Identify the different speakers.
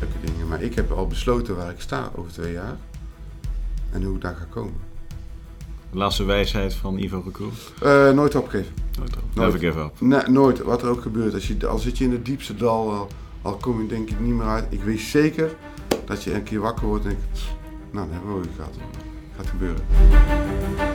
Speaker 1: zeggen, maar ik heb al besloten waar ik sta over twee jaar en hoe ik daar ga komen.
Speaker 2: De laatste wijsheid van Ivo Recour.
Speaker 1: Eh, nooit opgeven.
Speaker 2: Nooit op.
Speaker 1: Nooit.
Speaker 2: Never give up.
Speaker 1: Nee, nooit, wat er ook gebeurt. Als je, al zit je in het diepste dal, al, al kom je denk ik niet meer uit. Ik weet zeker dat je een keer wakker wordt en denkt, "Pff, nou, dat hebben we ook gehad. Gaat gebeuren.